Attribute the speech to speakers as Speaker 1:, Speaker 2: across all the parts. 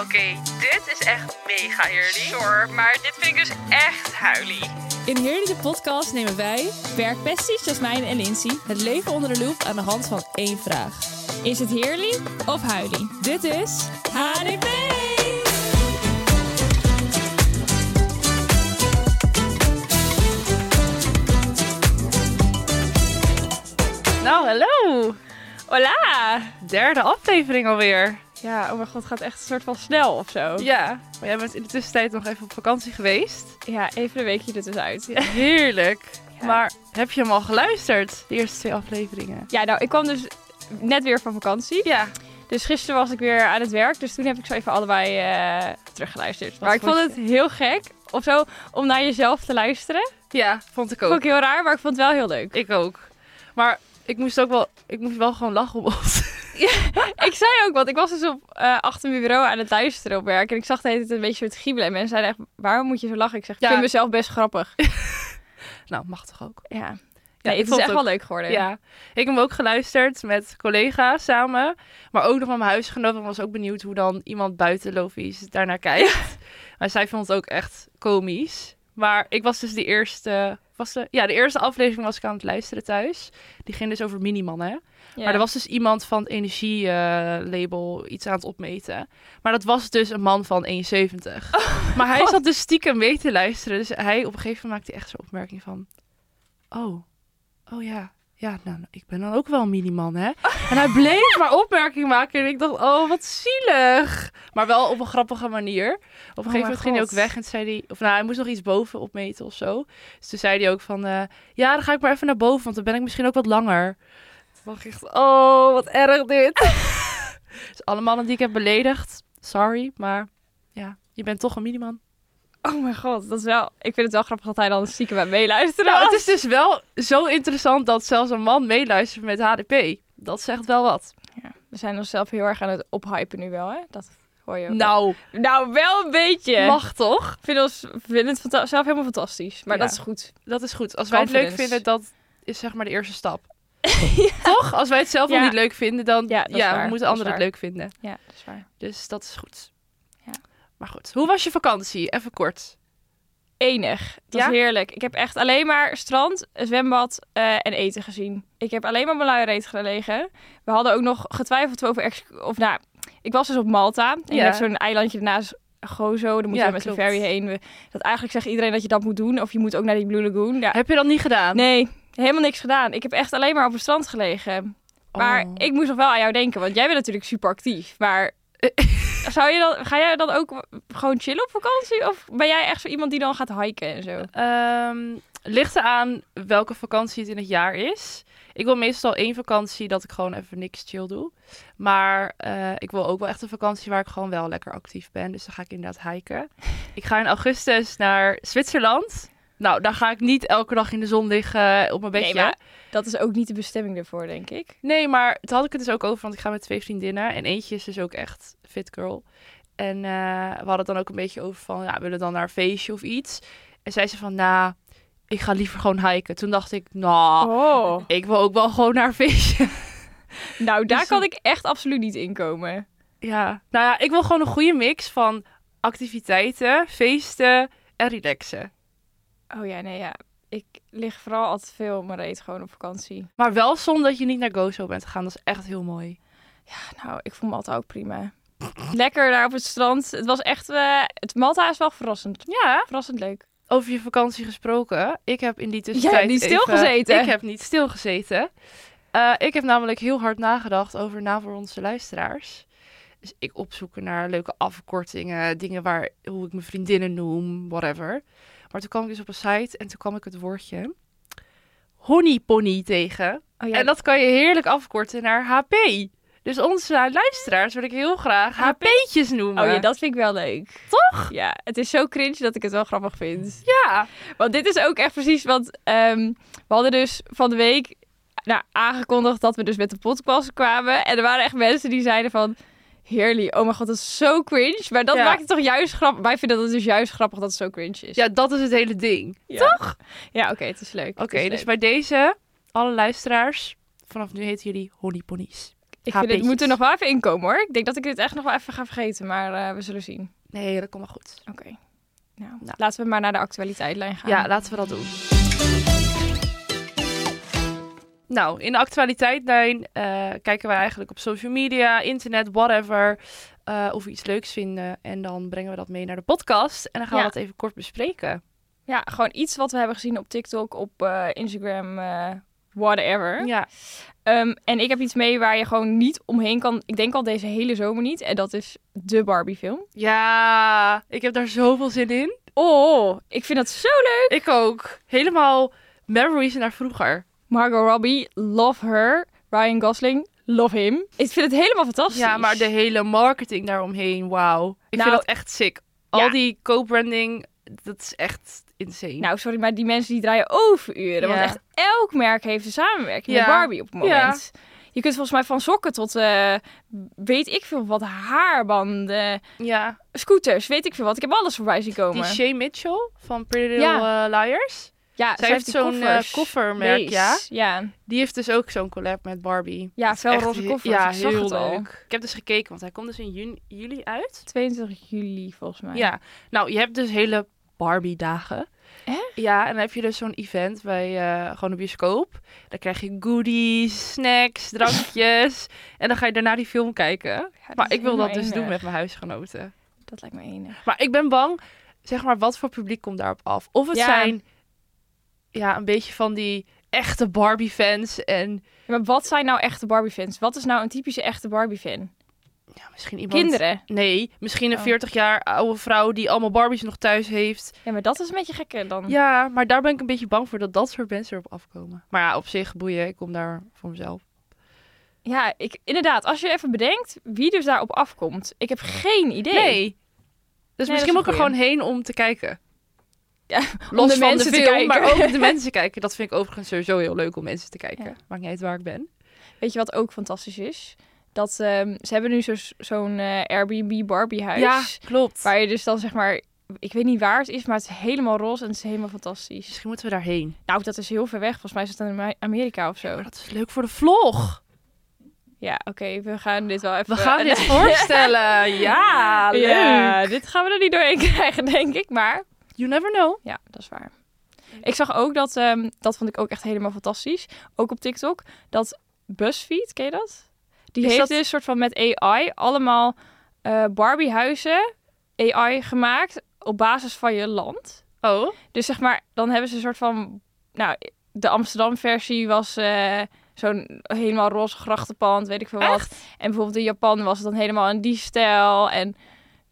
Speaker 1: Oké, dit is echt mega eerlijk. Hoor, maar dit vind ik dus echt huilie.
Speaker 2: In Heerlijke Podcast nemen wij, werkpesties Jasmijn en Lindsay, het leven onder de loep aan de hand van één vraag. Is het heerlijk of huilie? Dit is HDP!
Speaker 1: Nou, hallo.
Speaker 2: Hola!
Speaker 1: Derde aflevering alweer.
Speaker 2: Ja, oh mijn god, het gaat echt een soort van snel of zo.
Speaker 1: Ja, maar jij bent in de tussentijd nog even op vakantie geweest.
Speaker 2: Ja, even een weekje er dus uit. Ja.
Speaker 1: Heerlijk.
Speaker 2: Ja.
Speaker 1: Maar heb je hem al geluisterd? De eerste twee afleveringen.
Speaker 2: ja, nou, ik kwam dus net weer van vakantie.
Speaker 1: Ja,
Speaker 2: Dus gisteren was ik weer aan het werk, dus toen heb ik zo even allebei eh, teruggeluisterd. maar ik
Speaker 1: vond
Speaker 2: vond het heel gek, of zo, om naar jezelf te luisteren.
Speaker 1: ja, vond ik ook.
Speaker 2: Vond ik heel raar, maar ik vond het wel heel leuk.
Speaker 1: Ik ook. Maar ik moest ook wel, ik moest wel gewoon lachen om ons.
Speaker 2: ik zei ook wat. Ik was dus op, eh, achter mijn bureau aan het luisteren op werk. En ik zag de hele tijd een beetje het giebelen. En mensen zeiden echt, waarom moet je zo lachen? Ik zeg, ik
Speaker 1: Ja.
Speaker 2: vind mezelf best grappig.
Speaker 1: Nou, mag toch ook.
Speaker 2: Ja,
Speaker 1: Ja,
Speaker 2: nee,
Speaker 1: ik
Speaker 2: het is
Speaker 1: vond
Speaker 2: echt
Speaker 1: het
Speaker 2: wel leuk geworden.
Speaker 1: Ja, ik heb hem ook geluisterd met collega's samen. Maar ook nog van mijn huisgenoot. Want ik was ook benieuwd hoe dan iemand buiten Lovies daarnaar kijkt. Maar zij vond het ook echt komisch. Maar ik was dus die eerste... Was de, ja, de eerste aflevering was ik aan het luisteren thuis. Die ging dus over minimannen.
Speaker 2: Ja.
Speaker 1: Maar er was dus iemand van het energielabel iets aan het opmeten. Maar dat was dus een man van 71.
Speaker 2: Oh,
Speaker 1: maar hij zat dus stiekem mee te luisteren. Dus hij op een gegeven moment maakte echt zo'n opmerking van... Oh, oh ja. Ja, nou, ik ben dan ook wel een miniman, hè? En hij bleef maar opmerking maken. En ik dacht, oh, wat zielig. Maar wel op een grappige manier. Op een gegeven
Speaker 2: Oh mijn
Speaker 1: moment ging hij ook
Speaker 2: God.
Speaker 1: weg en zei hij... Of nou, hij moest nog iets boven opmeten of zo. Dus toen zei hij ook van... eh, ja, dan ga ik maar even naar boven, want dan ben ik misschien ook wat langer. Toen dacht ik echt, oh, wat erg dit. dus alle mannen die ik heb beledigd, sorry, maar ja, je bent toch een miniman.
Speaker 2: Oh mijn god, dat is wel... Ik vind het wel grappig dat hij dan stiekem bij meeluistert.
Speaker 1: Nou, het is dus wel zo interessant dat zelfs een man meeluistert met HDP. Dat zegt wel wat.
Speaker 2: We zijn onszelf heel erg aan het ophypen nu wel, hè? Dat hoor je ook.
Speaker 1: Nou,
Speaker 2: Nou, wel een beetje.
Speaker 1: mag toch?
Speaker 2: Ik vind, ons, we vinden het fanta- zelf helemaal fantastisch. Maar
Speaker 1: Ja.
Speaker 2: dat is goed.
Speaker 1: Dat is goed. Als wij het leuk
Speaker 2: Confidence.
Speaker 1: vinden, dat is zeg maar de eerste stap. Toch? Als wij het zelf
Speaker 2: Ja.
Speaker 1: al niet leuk vinden, dan
Speaker 2: Ja,
Speaker 1: ja,
Speaker 2: dat is waar.
Speaker 1: we
Speaker 2: Dat is
Speaker 1: moeten anderen het
Speaker 2: waar.
Speaker 1: leuk vinden.
Speaker 2: Ja, dat is waar.
Speaker 1: Dus dat is goed.
Speaker 2: Ja.
Speaker 1: Maar goed, hoe was je vakantie? Even kort.
Speaker 2: enig. Het was
Speaker 1: Ja?
Speaker 2: heerlijk. Ik heb echt alleen maar strand, een zwembad eh, en eten gezien. Ik heb alleen maar op mijn luiereet gelegen. We hadden ook nog getwijfeld over... ex- Of nou, ik was dus op Malta. En je
Speaker 1: Ja.
Speaker 2: hebt zo'n eilandje daarnaast Gozo. Dan moet
Speaker 1: Ja,
Speaker 2: je met de
Speaker 1: klopt.
Speaker 2: ferry heen. We- Dat eigenlijk zegt iedereen dat je dat moet doen. Of je moet ook naar die Blue Lagoon. Ja.
Speaker 1: Heb je dat niet gedaan?
Speaker 2: Nee, helemaal niks gedaan. Ik heb echt alleen maar op het strand gelegen. Maar
Speaker 1: Oh.
Speaker 2: ik moest nog wel aan jou denken, want jij bent natuurlijk super actief. Maar eh, zou je dan, ga jij dan ook gewoon chillen op vakantie? Of ben jij echt zo iemand die dan gaat hiken en zo?
Speaker 1: Ehm ligt eraan welke vakantie het in het jaar is. Ik wil meestal één vakantie dat ik gewoon even niks chill doe. Maar eh, ik wil ook wel echt een vakantie waar ik gewoon wel lekker actief ben. Dus dan ga ik inderdaad hiken. Ik ga in augustus naar Zwitserland. Nou, daar ga ik niet elke dag in de zon liggen op mijn bedje.
Speaker 2: Nee, maar dat is ook niet de bestemming ervoor, denk ik.
Speaker 1: Nee, maar toen had ik het dus ook over, want ik ga met twee vriendinnen. En eentje is dus ook echt fit girl. En eh, we hadden het dan ook een beetje over van, ja, willen we dan naar een feestje of iets? En zij zei van, nou, ik ga liever gewoon hiken. Toen dacht ik, nou,
Speaker 2: Oh.
Speaker 1: ik wil ook wel gewoon naar een feestje.
Speaker 2: Nou, daar
Speaker 1: Dus-
Speaker 2: kan ik echt absoluut niet in komen.
Speaker 1: ja, nou ja, ik wil gewoon een goede mix van activiteiten, feesten en relaxen.
Speaker 2: Oh ja, nee, ja. Ik lig vooral al te veel op mijn reet gewoon op vakantie.
Speaker 1: Maar wel zonder dat je niet naar Gozo bent gegaan. Dat is echt heel mooi.
Speaker 2: Ja, nou, ik vond Malta ook prima. Lekker daar op het strand. Het was echt... eh, het Malta is wel verrassend.
Speaker 1: Ja,
Speaker 2: Verrassend leuk.
Speaker 1: over je vakantie gesproken. Ik heb in die
Speaker 2: Jij
Speaker 1: tussentijd
Speaker 2: hebt niet
Speaker 1: even-
Speaker 2: stilgezeten.
Speaker 1: Ik heb niet stilgezeten. Eh ik heb namelijk heel hard nagedacht over na voor onze luisteraars. Dus ik opzoeken naar leuke afkortingen, dingen waar hoe ik mijn vriendinnen noem, whatever. Maar toen kwam ik dus op een site en toen kwam ik het woordje honeypony tegen.
Speaker 2: Oh, ja.
Speaker 1: En dat kan je heerlijk afkorten naar HP. Dus onze luisteraars wil ik heel graag
Speaker 2: HP?
Speaker 1: HP'tjes noemen.
Speaker 2: oh ja, dat vind ik wel leuk. Toch? Ja, het is zo cringe dat ik het wel grappig vind.
Speaker 1: ja.
Speaker 2: Want dit is ook echt precies wat... ehm, we hadden dus van de week nou, aangekondigd dat we dus met de podcast kwamen. En er waren echt mensen die zeiden van... Heerlijk, oh mijn god, dat is zo cringe. Maar dat
Speaker 1: Ja.
Speaker 2: maakt het toch juist grappig. Wij vinden dat dus juist grappig dat het zo cringe is.
Speaker 1: ja, dat is het hele ding.
Speaker 2: toch? Ja, oké, het is leuk. het
Speaker 1: Oké,
Speaker 2: is
Speaker 1: dus
Speaker 2: leuk.
Speaker 1: bij deze, alle luisteraars, vanaf nu heten jullie honeyponies.
Speaker 2: Ik vind,
Speaker 1: HP'tjes.
Speaker 2: dit moet er nog wel even inkomen hoor. Ik denk dat ik dit echt nog wel even ga vergeten, maar eh, we zullen zien.
Speaker 1: Nee, dat komt wel goed.
Speaker 2: Oké. Nou,
Speaker 1: Nou.
Speaker 2: laten we maar naar de actualiteitlijn gaan.
Speaker 1: Ja, laten we dat doen. Nou, in de actualiteitlijn eh, kijken wij eigenlijk op social media, internet, whatever. eh, of we iets leuks vinden. En dan brengen we dat mee naar de podcast. En dan gaan
Speaker 2: Ja.
Speaker 1: we dat even kort bespreken.
Speaker 2: Ja, gewoon iets wat we hebben gezien op TikTok, op eh, Instagram, eh, whatever.
Speaker 1: Ja,
Speaker 2: Ehm, en ik heb iets mee waar je gewoon niet omheen kan. Ik denk al deze hele zomer niet. En dat is de Barbie film.
Speaker 1: ja ik heb daar zoveel zin in.
Speaker 2: Oh, ik vind dat zo leuk.
Speaker 1: Ik ook. Helemaal memories naar vroeger.
Speaker 2: Margot Robbie, love her. Ryan Gosling, love him. Ik vind het helemaal fantastisch.
Speaker 1: Ja, maar de hele marketing daaromheen, wauw. Ik
Speaker 2: Nou,
Speaker 1: vind dat echt sick. Al
Speaker 2: ja.
Speaker 1: die co-branding, dat is echt insane.
Speaker 2: Nou, sorry, maar die mensen die draaien overuren.
Speaker 1: Ja.
Speaker 2: Want echt elk merk heeft een samenwerking met
Speaker 1: Ja.
Speaker 2: Barbie op het moment. Je kunt volgens mij van sokken tot eh, weet ik veel wat haarbanden,
Speaker 1: ja.
Speaker 2: scooters, weet ik veel wat. Ik heb alles voorbij zien komen.
Speaker 1: Die Shay Mitchell van Pretty Little
Speaker 2: Ja.
Speaker 1: eh, Liars.
Speaker 2: ja,
Speaker 1: Zij
Speaker 2: ze
Speaker 1: heeft
Speaker 2: die
Speaker 1: zo'n eh,
Speaker 2: koffers.
Speaker 1: koffermerk,
Speaker 2: Lees,
Speaker 1: ja.
Speaker 2: Ja,
Speaker 1: Die heeft dus ook zo'n collab met Barbie.
Speaker 2: ja
Speaker 1: Dat is echt
Speaker 2: felroze
Speaker 1: he-
Speaker 2: koffers.
Speaker 1: Ja,
Speaker 2: ik zag
Speaker 1: heel
Speaker 2: het al.
Speaker 1: leuk. Ik heb dus gekeken, want hij komt dus in juni, juli uit.
Speaker 2: 22 juli volgens mij.
Speaker 1: Ja. Nou, je hebt dus hele Barbie-dagen.
Speaker 2: Echt?
Speaker 1: Ja, en dan heb je dus zo'n event bij eh, gewoon een bioscoop. Dan krijg je goodies, snacks, drankjes. en dan ga je daarna die film kijken.
Speaker 2: Ja, dat
Speaker 1: Maar
Speaker 2: is
Speaker 1: ik wil dat
Speaker 2: helemaal
Speaker 1: dus doen
Speaker 2: enig.
Speaker 1: met mijn huisgenoten.
Speaker 2: Dat lijkt me enig.
Speaker 1: Maar ik ben bang, zeg maar, wat voor publiek komt daarop af? Of het
Speaker 2: Ja.
Speaker 1: zijn ja, een beetje van die echte Barbie-fans en
Speaker 2: Ja, Maar wat zijn nou echte Barbie-fans? Wat is nou een typische echte Barbie-fan?
Speaker 1: ja, misschien iemand...
Speaker 2: Kinderen.
Speaker 1: Nee, misschien een
Speaker 2: Oh.
Speaker 1: 40 jaar oude vrouw die allemaal Barbies nog thuis heeft.
Speaker 2: Ja, maar dat is een beetje gekker dan.
Speaker 1: Ja, maar daar ben ik een beetje bang voor dat dat soort mensen erop afkomen. Maar ja, op zich boeien, ik kom daar voor mezelf.
Speaker 2: Ja, ik, inderdaad. Als je even bedenkt wie dus daarop afkomt. Ik heb geen idee.
Speaker 1: Dus
Speaker 2: Nee,
Speaker 1: misschien
Speaker 2: dat
Speaker 1: moet
Speaker 2: is
Speaker 1: ik er
Speaker 2: een
Speaker 1: gewoon heen om te kijken.
Speaker 2: Ja,
Speaker 1: Los
Speaker 2: de
Speaker 1: van
Speaker 2: mensen
Speaker 1: de
Speaker 2: te
Speaker 1: film,
Speaker 2: kijken.
Speaker 1: maar ook de mensen kijken. Dat vind ik overigens sowieso heel leuk om mensen te kijken.
Speaker 2: Ja.
Speaker 1: Maakt niet uit waar ik ben.
Speaker 2: Weet je wat ook fantastisch is? Dat ehm, ze hebben nu zo's- zo'n eh, Airbnb Barbie huis.
Speaker 1: klopt.
Speaker 2: Waar je dus dan zeg maar... Ik weet niet waar het is, maar het is helemaal roze en het is helemaal fantastisch.
Speaker 1: Misschien moeten we daarheen.
Speaker 2: Nou, dat is heel ver weg. Volgens mij is het in Ama- Amerika of zo.
Speaker 1: Maar dat is leuk voor de vlog.
Speaker 2: Ja, oké. we gaan dit wel even...
Speaker 1: We gaan dit voorstellen. Ja, leuk.
Speaker 2: Ja, dit gaan we er niet doorheen krijgen, denk ik. Maar
Speaker 1: You never know.
Speaker 2: Ja, dat is waar. Ik zag ook dat, ehm, dat vond ik ook echt helemaal fantastisch, ook op TikTok, dat BuzzFeed, ken je dat? Die
Speaker 1: Is
Speaker 2: heeft
Speaker 1: dat-
Speaker 2: dus soort van met AI allemaal eh Barbie-huizen AI gemaakt op basis van je land.
Speaker 1: Oh.
Speaker 2: Dus zeg maar, dan hebben ze een soort van, nou, de Amsterdam-versie was eh, zo'n helemaal roze grachtenpand, weet ik veel wat. En bijvoorbeeld in Japan was het dan helemaal in die stijl en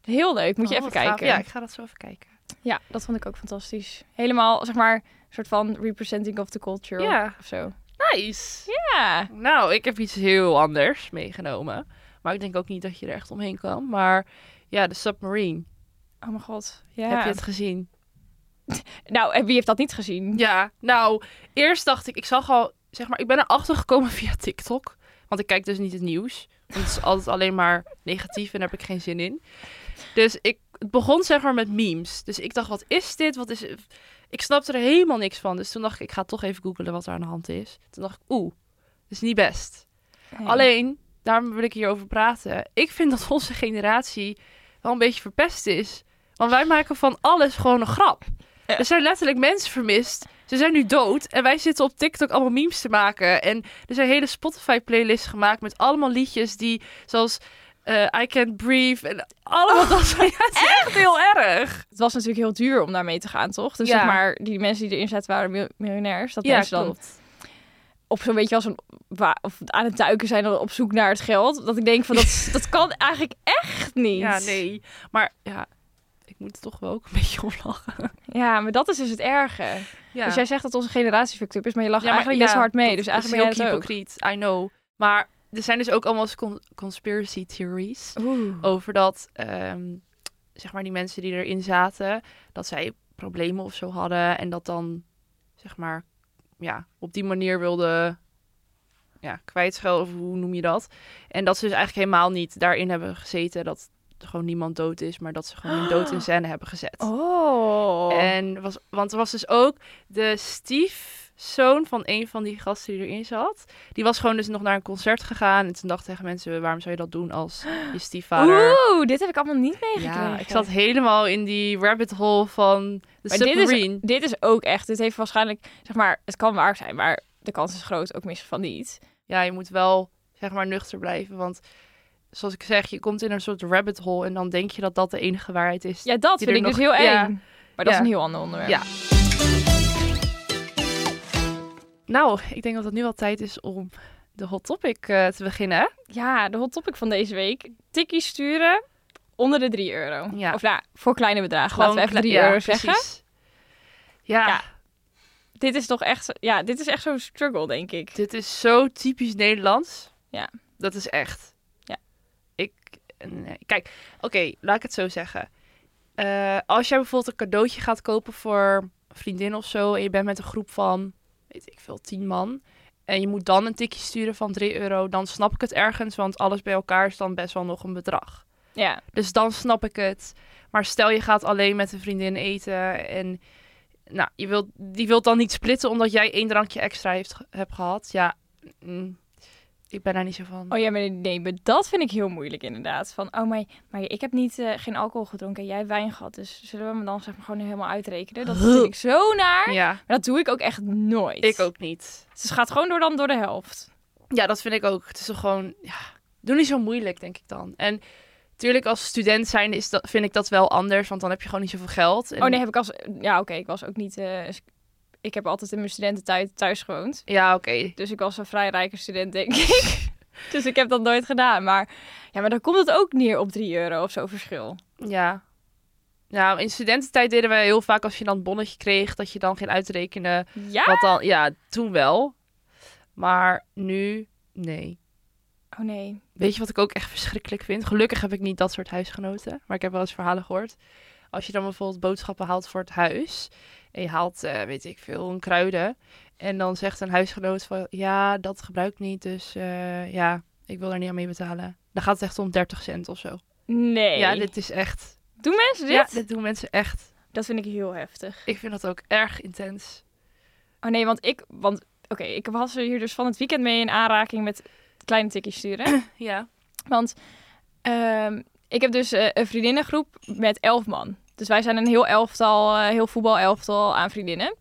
Speaker 2: heel leuk, moet je
Speaker 1: Oh,
Speaker 2: even
Speaker 1: wat gaaf.
Speaker 2: kijken.
Speaker 1: Ja, ik ga dat zo even kijken.
Speaker 2: Ja, dat vond ik ook fantastisch. Helemaal, zeg maar, een soort van representing of the culture
Speaker 1: Ja.
Speaker 2: of zo.
Speaker 1: Nice.
Speaker 2: Ja.
Speaker 1: Nou, ik heb iets heel anders meegenomen. Maar ik denk ook niet dat je er echt omheen kan. Maar ja, de Submarine.
Speaker 2: Oh mijn god. Ja.
Speaker 1: Heb je het gezien?
Speaker 2: Nou, en wie heeft dat niet gezien?
Speaker 1: Ja. Nou, eerst dacht ik, ik zag al, zeg maar, ik ben erachter gekomen via TikTok. Want ik kijk dus niet het nieuws. Want het is altijd alleen maar negatief en daar heb ik geen zin in. Dus ik, het begon zeg maar met memes. Dus ik dacht, wat is dit? Wat is... Ik snapte er helemaal niks van. Dus toen dacht ik, ik ga toch even googlen wat er aan de hand is. Toen dacht ik, oeh, dat is niet best.
Speaker 2: Nee.
Speaker 1: Alleen, daarom wil ik hierover praten. Ik vind dat onze generatie wel een beetje verpest is. Want wij maken van alles gewoon een grap.
Speaker 2: Ja.
Speaker 1: Er zijn letterlijk mensen vermist. Ze zijn nu dood. En wij zitten op TikTok allemaal memes te maken. En er zijn hele Spotify-playlists gemaakt met allemaal liedjes die, zoals eh, I Can't Breathe. En allemaal dat soort Ja, het is Oh, echt heel erg.
Speaker 2: Het was natuurlijk heel duur om daarmee te gaan, toch? Dus
Speaker 1: Ja.
Speaker 2: zeg maar, die mensen die erin zaten waren mil- miljonairs. Dat
Speaker 1: ja,
Speaker 2: mensen dan
Speaker 1: klopt.
Speaker 2: op zo'n beetje als een... wa- Of aan het duiken zijn dan op zoek naar het geld. Dat ik denk van, dat, dat kan eigenlijk echt niet.
Speaker 1: Ja, nee. Maar ja, ik moet er toch wel ook een beetje om lachen.
Speaker 2: Ja, maar dat is dus het erge.
Speaker 1: Ja.
Speaker 2: Dus jij zegt dat onze generatie fucked up is, maar je lacht
Speaker 1: Ja, maar
Speaker 2: eigenlijk
Speaker 1: ja,
Speaker 2: best hard mee.
Speaker 1: dat
Speaker 2: Dus
Speaker 1: is
Speaker 2: eigenlijk
Speaker 1: heel
Speaker 2: ben jij het ook.
Speaker 1: hypocriet, I know. Maar er zijn dus ook allemaal con- conspiracy theories
Speaker 2: Oeh.
Speaker 1: over dat, ehm, zeg maar, die mensen die erin zaten, dat zij problemen of zo hadden en dat dan, zeg maar, ja, op die manier wilden ja, kwijtschelden, of hoe noem je dat? En dat ze dus eigenlijk helemaal niet daarin hebben gezeten dat gewoon niemand dood is, maar dat ze gewoon hun dood in scène hebben gezet.
Speaker 2: Oh.
Speaker 1: En was, want er was dus ook de stief zoon van een van die gasten die erin zat, die was gewoon dus nog naar een concert gegaan. En toen dacht ik tegen mensen, waarom zou je dat doen als je stiefvader...
Speaker 2: Oeh, dit heb ik allemaal niet meegekregen.
Speaker 1: Ja, ik zat helemaal in die rabbit hole van de
Speaker 2: Maar dit
Speaker 1: submarine.
Speaker 2: is, dit is ook echt, dit heeft waarschijnlijk, zeg maar, het kan waar zijn, maar de kans is groot, ook mis van niet.
Speaker 1: ja, je moet wel zeg maar nuchter blijven. Want zoals ik zeg, je komt in een soort rabbit hole en dan denk je dat dat de enige waarheid is.
Speaker 2: Ja, dat
Speaker 1: Die
Speaker 2: vind ik
Speaker 1: er
Speaker 2: dus heel
Speaker 1: nog-
Speaker 2: eng.
Speaker 1: ja.
Speaker 2: Maar dat
Speaker 1: Ja.
Speaker 2: is een heel ander onderwerp.
Speaker 1: Ja. Nou, ik denk dat het nu wel tijd is om de hot topic eh, te beginnen.
Speaker 2: Ja, de hot topic van deze week. Tikkie sturen onder de 3 euro.
Speaker 1: Ja.
Speaker 2: Of nou, voor kleine bedragen. Laten we even
Speaker 1: kle-
Speaker 2: 3
Speaker 1: ja,
Speaker 2: euro
Speaker 1: precies.
Speaker 2: zeggen.
Speaker 1: Ja,
Speaker 2: Ja. Dit is toch echt, zo- ja, dit is echt zo'n struggle, denk ik.
Speaker 1: dit is zo typisch Nederlands.
Speaker 2: Ja.
Speaker 1: Dat is echt.
Speaker 2: Ja.
Speaker 1: Ik, nee. Kijk, oké, laat ik het zo zeggen. Eh, als jij bijvoorbeeld een cadeautje gaat kopen voor een vriendin of zo... en je bent met een groep van, weet ik veel, tien man... en je moet dan een tikje sturen van 3 euro... dan snap ik het ergens, want alles bij elkaar is dan best wel nog een bedrag.
Speaker 2: Ja,
Speaker 1: Dus dan snap ik het. Maar stel je gaat alleen met een vriendin eten en nou, je wilt, die wilt dan niet splitsen omdat jij één drankje extra heeft, ge- hebt gehad. Ja, mm, ik ben daar niet zo van.
Speaker 2: oh ja, maar nee, maar dat vind ik heel moeilijk inderdaad. Van, oh, maar, maar ik heb niet, eh, geen alcohol gedronken en jij hebt wijn gehad. Dus zullen we hem dan zeg maar gewoon helemaal uitrekenen? Dat vind ik zo naar.
Speaker 1: Ja,
Speaker 2: Maar dat doe ik ook echt nooit.
Speaker 1: ik ook niet.
Speaker 2: Dus het gaat gewoon door dan door de helft.
Speaker 1: Ja, dat vind ik ook. Het is toch gewoon, ja, doe niet zo moeilijk, denk ik dan. En natuurlijk als student zijn is dat, vind ik dat wel anders, want dan heb je gewoon niet zoveel geld. En-
Speaker 2: Oh nee, heb ik als, ja oké, ik was ook niet, eh, ik heb altijd in mijn studententijd thuis gewoond.
Speaker 1: Ja, oké.
Speaker 2: Dus ik was een vrij rijke student, denk ik. dus ik heb dat nooit gedaan. Maar, ja, maar dan komt het ook neer op 3 euro of zo verschil.
Speaker 1: Ja. Nou, in studententijd deden wij heel vaak als je dan een bonnetje kreeg, dat je dan ging uitrekenen
Speaker 2: Ja?
Speaker 1: Wat dan, ja, toen wel. Maar nu, nee.
Speaker 2: Oh nee.
Speaker 1: Weet je wat ik ook echt verschrikkelijk vind? Gelukkig heb ik niet dat soort huisgenoten. Maar ik heb wel eens verhalen gehoord. Als je dan bijvoorbeeld boodschappen haalt voor het huis. En je haalt, eh, weet ik veel, een kruiden. En dan zegt een huisgenoot van... Ja, dat gebruik ik niet. Dus eh, ja, ik wil er niet aan mee betalen. Dan gaat het echt om 30 cent of zo.
Speaker 2: Nee.
Speaker 1: Ja, dit is echt...
Speaker 2: Doen mensen dit?
Speaker 1: Ja, dit doen mensen echt.
Speaker 2: Dat vind ik heel heftig.
Speaker 1: Ik vind dat ook erg intens.
Speaker 2: Oh nee, want ik, want oké, ik was er hier dus van het weekend mee in aanraking met kleine tikjes sturen.
Speaker 1: Ja.
Speaker 2: want ehm, ik heb dus eh, een vriendinnengroep met elf man. Dus wij zijn een heel elftal, eh, heel voetbalelftal aan vriendinnen.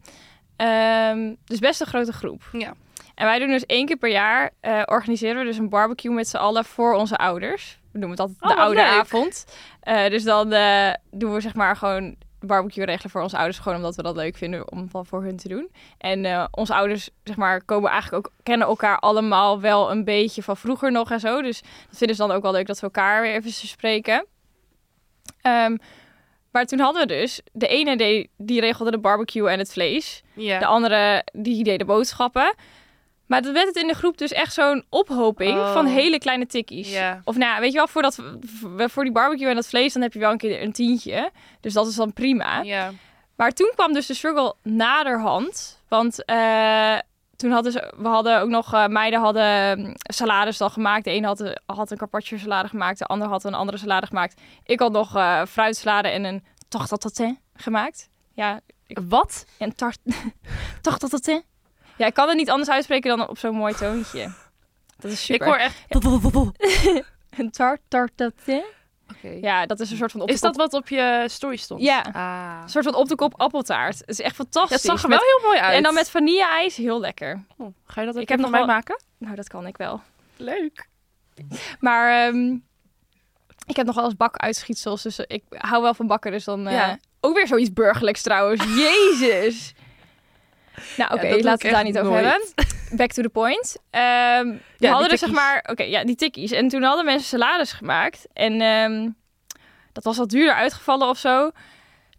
Speaker 2: Ehm, dus best een grote groep.
Speaker 1: Ja.
Speaker 2: En wij doen dus één keer per jaar eh, organiseren we dus een barbecue met z'n allen voor onze ouders. We noemen het altijd
Speaker 1: Oh,
Speaker 2: de
Speaker 1: wat
Speaker 2: oude
Speaker 1: leuk.
Speaker 2: avond. Eh, dus dan eh, doen we zeg maar gewoon barbecue regelen voor onze ouders. Gewoon omdat we dat leuk vinden om van voor hun te doen. En eh, onze ouders zeg maar komen eigenlijk ook kennen elkaar allemaal wel een beetje van vroeger nog en zo. Dus dat vinden ze dan ook wel leuk dat we elkaar weer even spreken. Ehm, maar toen hadden we dus de ene die, die regelde de barbecue en het vlees.
Speaker 1: Ja.
Speaker 2: De andere, die deed de boodschappen. Maar dat werd het in de groep dus echt zo'n ophoping
Speaker 1: Oh.
Speaker 2: van hele kleine tikkies.
Speaker 1: Ja.
Speaker 2: Of nou, ja, weet je wel, voor, dat, v- voor die barbecue en dat vlees, dan heb je wel een keer een tientje. Dus dat is dan prima.
Speaker 1: Ja.
Speaker 2: Maar toen kwam dus de struggle naderhand. Want eh, toen hadden ze, we hadden ook nog, eh, meiden hadden mm, salades dan gemaakt. De een had, een- had een carpaccio salade gemaakt, de ander had een andere salade gemaakt. Ik had nog eh fruitsalade en een tartatatin gemaakt. Ja,
Speaker 1: Wat?
Speaker 2: en tart. Toch dat dat hè? Ja, ik kan het niet anders uitspreken dan op zo'n mooi toontje. Dat is super.
Speaker 1: Ik hoor echt. Oké.
Speaker 2: een tart, tart, dat hè? Ja, dat is een soort van op de
Speaker 1: Is dat
Speaker 2: kop-
Speaker 1: wat op je story stond?
Speaker 2: Ja.
Speaker 1: Ah.
Speaker 2: een soort van op de kop appeltaart. Het is echt fantastisch.
Speaker 1: Dat zag er
Speaker 2: Met-
Speaker 1: wel heel mooi uit.
Speaker 2: En dan met vanille-ijs, heel lekker.
Speaker 1: Oh, ga je dat ook
Speaker 2: Ik heb
Speaker 1: even
Speaker 2: nog
Speaker 1: van
Speaker 2: wel-
Speaker 1: mij maken?
Speaker 2: Nou, dat kan ik wel.
Speaker 1: Leuk.
Speaker 2: Maar ehm, ik heb nog wel eens bakuitschietsels, dus ik hou wel van bakken. Dus dan eh,
Speaker 1: Ja.
Speaker 2: ook weer zoiets burgerlijks trouwens. Jezus! Nou,
Speaker 1: Ja,
Speaker 2: oké,
Speaker 1: dat doe ik
Speaker 2: laten we het daar
Speaker 1: echt
Speaker 2: niet over
Speaker 1: nooit.
Speaker 2: hebben. Back to the point. Ehm we
Speaker 1: die
Speaker 2: hadden dus zeg
Speaker 1: tikkies.
Speaker 2: maar, oké, ja, die tikkies. En toen hadden mensen salades gemaakt. En ehm, dat was al duurder uitgevallen of zo.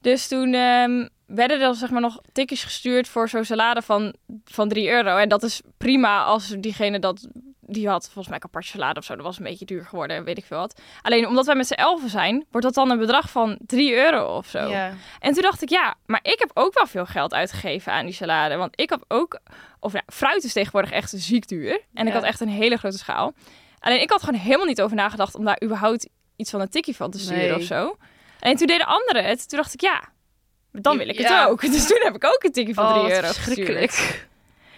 Speaker 2: Dus toen ehm, werden er zeg maar nog tikkies gestuurd voor zo'n salade van, van 3 euro. En dat is prima als diegene dat die had volgens mij apart salade of zo. Dat was een beetje duur geworden, weet ik veel wat. Alleen omdat wij met z'n elfen zijn, wordt dat dan een bedrag van 3 euro of zo.
Speaker 1: Ja.
Speaker 2: En toen dacht ik, ja, maar ik heb ook wel veel geld uitgegeven aan die salade. Want ik heb ook, of nou, fruit is tegenwoordig echt ziek duur. En ik
Speaker 1: Ja.
Speaker 2: had echt een hele grote schaal. Alleen ik had gewoon helemaal niet over nagedacht om daar überhaupt iets van een tikkie van te sturen
Speaker 1: Nee.
Speaker 2: of zo. En toen deden anderen het. Toen dacht ik, ja, dan wil ik het
Speaker 1: Ja.
Speaker 2: ook. Dus toen heb ik ook een tikkie van
Speaker 1: Oh,
Speaker 2: 3
Speaker 1: wat
Speaker 2: euro gestuurd.
Speaker 1: verschrikkelijk.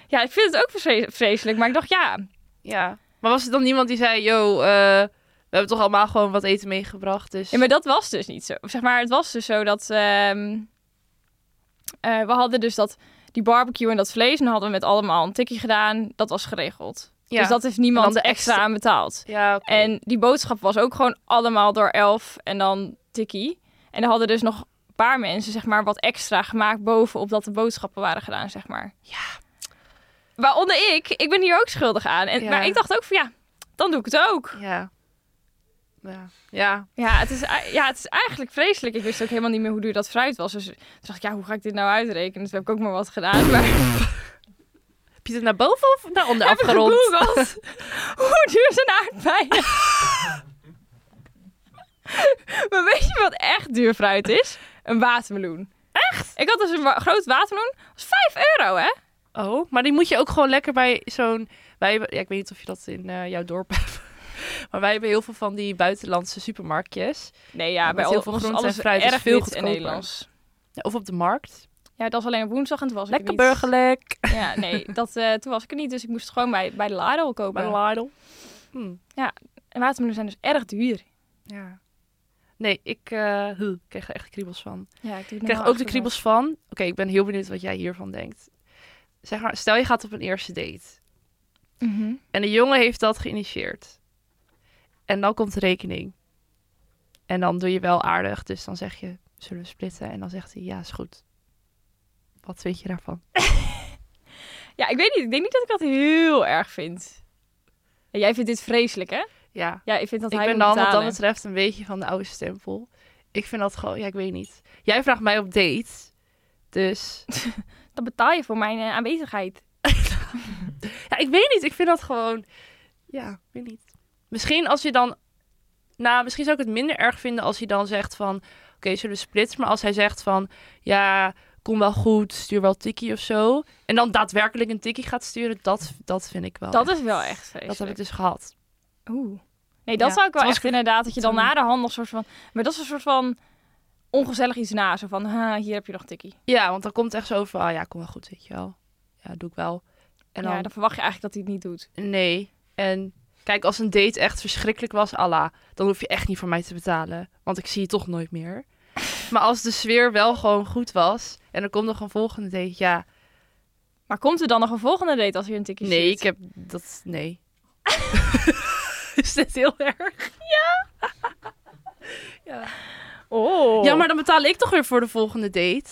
Speaker 2: Ja, ik vind het ook vreselijk, vreselijk, maar ik dacht ja.
Speaker 1: Ja. Maar was er dan iemand die zei, yo, eh, we hebben toch allemaal gewoon wat eten meegebracht, dus...
Speaker 2: ja. Maar dat was dus niet zo. Of Zeg maar, het was dus zo dat ehm, eh, we hadden dus dat die barbecue en dat vlees en dan hadden we met allemaal een tikkie gedaan. Dat was geregeld.
Speaker 1: Ja.
Speaker 2: Dus dat heeft niemand
Speaker 1: En dan de
Speaker 2: extra
Speaker 1: extra-
Speaker 2: aan betaald.
Speaker 1: Ja, oké.
Speaker 2: En die boodschap was ook gewoon allemaal door elf en dan tikkie. En er hadden dus nog een paar mensen, zeg maar, wat extra gemaakt bovenop dat de boodschappen waren gedaan, zeg maar. Ja. Waaronder ik, ik ben hier ook schuldig aan. En,
Speaker 1: Ja.
Speaker 2: Maar ik dacht ook van ja, dan doe ik het ook.
Speaker 1: Ja. Ja. Ja.
Speaker 2: Ja het, is, ei- ja, het is eigenlijk vreselijk. Ik wist ook helemaal niet meer hoe duur dat fruit was. Dus toen dacht ik, ja, hoe ga ik dit nou uitrekenen? Dus heb ik ook maar wat gedaan. Maar
Speaker 1: Heb je het naar boven of naar onder
Speaker 2: heb ik
Speaker 1: afgerond?
Speaker 2: gegoogeld. Hoe duur zijn aardbeien? maar weet je wat echt duur fruit is? Een watermeloen. Echt? Ik had dus een wa- groot watermeloen. Dat was 5 euro, hè?
Speaker 1: Oh, maar die moet je ook gewoon lekker bij zo'n... Wij hebben... Ja, ik weet niet of je dat in eh, jouw dorp hebt. Maar wij hebben heel veel van die buitenlandse supermarktjes.
Speaker 2: Nee, ja, bij
Speaker 1: Ja, met heel
Speaker 2: al,
Speaker 1: veel
Speaker 2: ons
Speaker 1: groente en
Speaker 2: alles
Speaker 1: fruit is
Speaker 2: erg
Speaker 1: veel
Speaker 2: wit en
Speaker 1: goedkoper.
Speaker 2: Nederlands.
Speaker 1: Ja, Of op de markt.
Speaker 2: Ja, dat was alleen op woensdag en toen was
Speaker 1: Lekker
Speaker 2: ik er niet.
Speaker 1: burgerlijk.
Speaker 2: Ja, nee, dat, eh, toen was ik er niet. Dus ik moest het gewoon bij, bij de Lidl
Speaker 1: Bij
Speaker 2: kopen.
Speaker 1: de Lidl. Hm.
Speaker 2: En watermeloenen zijn dus erg duur.
Speaker 1: Ja. Nee, ik eh, huh, ik krijg er echt kriebels van.
Speaker 2: Ja, ik, doe
Speaker 1: Ik krijg ook de kriebels van. Oké, ik ben heel benieuwd wat jij hiervan denkt. Zeg maar, stel je gaat op een eerste date. En de jongen heeft dat geïnitieerd. En dan komt de rekening. En dan doe je wel aardig. Dus dan zeg je, zullen we splitten? En dan zegt hij, ja, is goed. Wat vind je daarvan?
Speaker 2: Ja, ik weet niet. Ik denk niet dat ik dat heel erg vind. Ja, jij vindt dit vreselijk, hè?
Speaker 1: Ja,
Speaker 2: Ja, ik vind dat
Speaker 1: ik
Speaker 2: hij
Speaker 1: ben
Speaker 2: moet
Speaker 1: dan wat dat
Speaker 2: betalen.
Speaker 1: betreft een beetje van de oude stempel. Ik vind dat gewoon, ja, ik weet niet. Jij vraagt mij op date. Dus,
Speaker 2: Dan betaal je voor mijn eh, aanwezigheid.
Speaker 1: Oh, ja, ik weet niet. Ik vind dat gewoon, ja, ik weet niet. Misschien als je dan, nou, misschien zou ik het minder erg vinden als hij dan zegt van, oké, zullen we splitsen? Maar als hij zegt van, ja, kom wel goed, stuur wel tikkie of zo. En dan daadwerkelijk een tikkie gaat sturen, dat, dat vind ik wel.
Speaker 2: dat
Speaker 1: echt-
Speaker 2: is wel echt vreselijk.
Speaker 1: Dat heb ik dus gehad.
Speaker 2: Oeh. Nee, dat
Speaker 1: Ja,
Speaker 2: zou ik wel
Speaker 1: toen was
Speaker 2: echt inderdaad. Dat je dan
Speaker 1: toen-
Speaker 2: na de handel soort van... Maar dat is een soort van ongezellig iets na. Zo van, ha, hier heb je nog tikkie.
Speaker 1: Ja, want dan komt het echt zo van, ah ja, kom wel goed, weet je wel. Ja, doe ik wel. En dan,
Speaker 2: Ja, dan verwacht je eigenlijk dat hij het niet doet.
Speaker 1: nee. En kijk, als een date echt verschrikkelijk was, Allah, dan hoef je echt niet voor mij te betalen. Want ik zie je toch nooit meer. Maar als de sfeer wel gewoon goed was en er komt nog een volgende date, ja.
Speaker 2: Maar komt er dan nog een volgende date als hij een tikkie
Speaker 1: Nee,
Speaker 2: stuurt?
Speaker 1: ik heb dat, nee. Is dit heel erg? Ja.
Speaker 2: Oh.
Speaker 1: Ja, maar dan betaal ik toch weer voor de volgende date.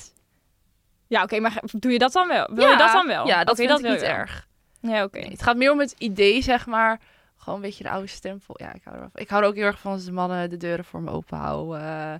Speaker 2: Ja, oké, maar ge- doe je dat dan wel? Wil
Speaker 1: ja,
Speaker 2: je dat dan wel?
Speaker 1: Ja, dat
Speaker 2: Oké,
Speaker 1: vind ik
Speaker 2: wil
Speaker 1: niet
Speaker 2: je wel.
Speaker 1: erg.
Speaker 2: Ja, oké.
Speaker 1: Nee, het gaat meer om het idee, zeg maar. Gewoon een beetje de oude stempel. Ja, ik hou ervan. Ik hou er ook heel erg van als de mannen de deuren voor me open houden. eh,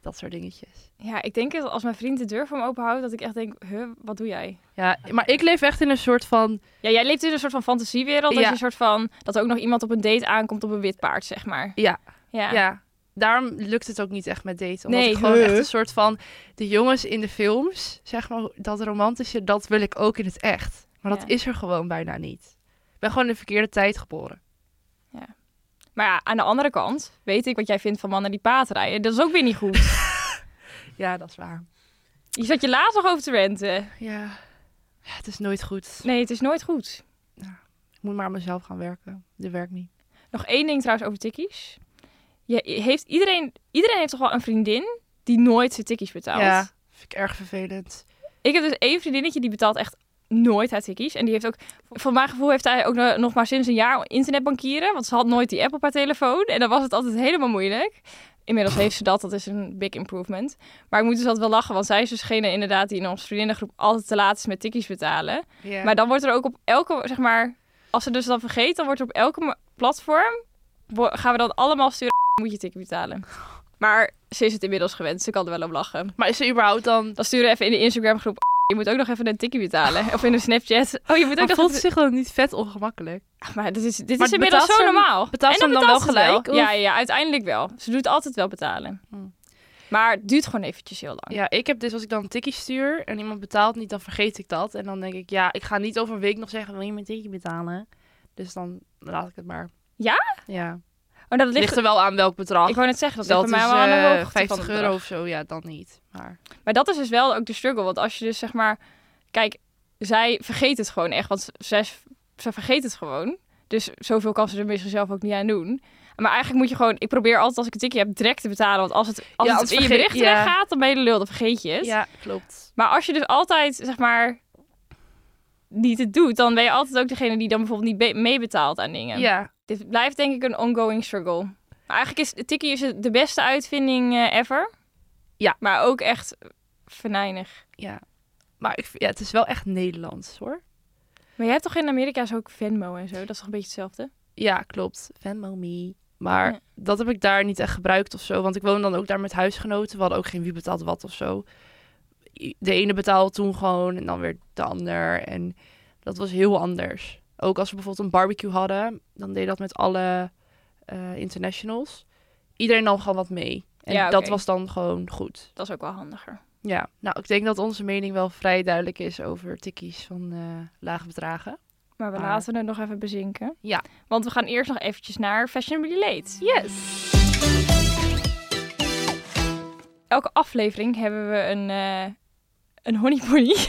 Speaker 1: dat soort dingetjes.
Speaker 2: Ja, ik denk dat als mijn vriend de deur voor me openhoudt, dat ik echt denk, huh, wat doe jij?
Speaker 1: Ja, maar ik leef echt in een soort van...
Speaker 2: Ja, jij leeft in een soort van fantasiewereld, dat
Speaker 1: Ja.
Speaker 2: je een soort van, dat er ook nog iemand op een date aankomt op een wit paard, zeg maar.
Speaker 1: Ja,
Speaker 2: Ja.
Speaker 1: ja. daarom lukt het ook niet echt met daten. Omdat
Speaker 2: Nee,
Speaker 1: ik gewoon
Speaker 2: huh?
Speaker 1: echt een soort van... De jongens in de films, zeg maar, dat romantische, dat wil ik ook in het echt. Maar dat
Speaker 2: Ja.
Speaker 1: is er gewoon bijna niet. Ik ben gewoon in de verkeerde tijd geboren.
Speaker 2: Maar ja, aan de andere kant weet ik wat jij vindt van mannen die paard rijden. Dat is ook weer niet goed.
Speaker 1: Ja, dat is waar.
Speaker 2: je zat je laatst nog over te renten.
Speaker 1: Ja, ja het is nooit goed.
Speaker 2: Nee, het is nooit goed.
Speaker 1: Ik moet maar aan mezelf gaan werken. Dit werkt niet.
Speaker 2: Nog één ding trouwens over tikkies. Je heeft iedereen, iedereen heeft toch wel een vriendin die nooit zijn tikkies betaalt.
Speaker 1: Ja, vind ik erg vervelend.
Speaker 2: Ik heb dus één vriendinnetje die betaalt echt nooit haar tikkies. En die heeft ook, voor mijn gevoel heeft hij ook no- nog maar sinds een jaar internetbankieren. Want ze had nooit die app op haar telefoon. En dan was het altijd helemaal moeilijk. Inmiddels heeft ze dat, dat is een big improvement. Maar ik moet dus altijd wel lachen, want zij is degene inderdaad die in onze vriendinnengroep altijd te laat is met tikkies betalen.
Speaker 1: Ja.
Speaker 2: Maar dan wordt er ook op elke, zeg maar, als ze dus dan vergeet, dan wordt er op elke ma- platform, wo- gaan we dan allemaal sturen, moet je tikkie betalen. Maar ze is het inmiddels gewend, ze kan er wel op lachen.
Speaker 1: Maar is er überhaupt dan...
Speaker 2: Dan sturen we even in de Instagram groep. Je moet ook nog even een tikkie betalen. Of in de Snapchat. Oh, je moet ook
Speaker 1: Maar
Speaker 2: nog
Speaker 1: voelt
Speaker 2: even...
Speaker 1: het zich dan niet vet ongemakkelijk?
Speaker 2: Ach, maar dit is, dit
Speaker 1: Maar
Speaker 2: is inmiddels
Speaker 1: betaalt
Speaker 2: zo
Speaker 1: ze hem-
Speaker 2: normaal.
Speaker 1: betaalt
Speaker 2: en
Speaker 1: ze hem dan wel
Speaker 2: betaalt ze het
Speaker 1: gelijk,
Speaker 2: Ja, ja, ja, uiteindelijk wel. Ze doet altijd wel betalen.
Speaker 1: Hmm.
Speaker 2: Maar het duurt gewoon eventjes heel lang.
Speaker 1: Ja, ik heb dus als ik dan een tikkie stuur en iemand betaalt niet, dan vergeet ik dat. En dan denk ik, ja, ik ga niet over een week nog zeggen, wil je mijn tikkie betalen? Dus dan laat ik het maar.
Speaker 2: Ja?
Speaker 1: Ja. Het
Speaker 2: Oh, dat ligt...
Speaker 1: ligt, er wel aan welk bedrag.
Speaker 2: Ik wou net zeggen, dat,
Speaker 1: dat
Speaker 2: ligt
Speaker 1: is
Speaker 2: bij mij wel aan de
Speaker 1: eh,
Speaker 2: hoogte van
Speaker 1: 50
Speaker 2: het
Speaker 1: euro
Speaker 2: bedrag.
Speaker 1: of zo, ja, dan niet. Maar
Speaker 2: Maar dat is dus wel ook de struggle. Want als je dus zeg maar... Kijk, zij vergeet het gewoon echt. Want z- zij, zij vergeet het gewoon. Dus zoveel kan ze er misschien zelf ook niet aan doen. Maar eigenlijk moet je gewoon... Ik probeer altijd als ik een tikje heb direct te betalen. Want als het, als
Speaker 1: Ja,
Speaker 2: het
Speaker 1: als
Speaker 2: in je
Speaker 1: vergeet-
Speaker 2: bericht
Speaker 1: ja.
Speaker 2: weggaat, dan ben je de lul. Dan vergeet je het.
Speaker 1: Ja, klopt.
Speaker 2: Maar als je dus altijd, zeg maar, niet het doet... dan ben je altijd ook degene die dan bijvoorbeeld niet be- meebetaalt aan dingen.
Speaker 1: Ja,
Speaker 2: Dit blijft denk ik een ongoing struggle. Maar eigenlijk is Tikkie is het de beste uitvinding eh, ever.
Speaker 1: Ja.
Speaker 2: Maar ook echt venijnig.
Speaker 1: ja. Maar ik, v- ja, het is wel echt Nederlands hoor.
Speaker 2: Maar jij hebt toch in Amerika zo ook Venmo en zo? Dat is toch een beetje hetzelfde?
Speaker 1: Ja, klopt. Venmo me. Maar
Speaker 2: Ja.
Speaker 1: dat heb ik daar niet echt gebruikt of zo. Want ik woon dan ook daar met huisgenoten. We hadden ook geen wie betaalt wat of zo. I- De ene betaalde toen gewoon en dan weer de ander. En dat was heel anders. Ook als we bijvoorbeeld een barbecue hadden, dan deed dat met alle eh, internationals. Iedereen nam gewoon wat mee. En
Speaker 2: Ja,
Speaker 1: dat
Speaker 2: oké.
Speaker 1: was dan gewoon goed.
Speaker 2: Dat is ook wel handiger.
Speaker 1: Ja, nou, ik denk dat onze mening wel vrij duidelijk is over tikkies van eh, lage bedragen.
Speaker 2: Maar we
Speaker 1: Maar-
Speaker 2: laten het nog even bezinken.
Speaker 1: Ja.
Speaker 2: Want we gaan eerst nog eventjes naar Fashionably Late.
Speaker 1: Yes!
Speaker 2: Elke aflevering hebben we een, eh een honeypony.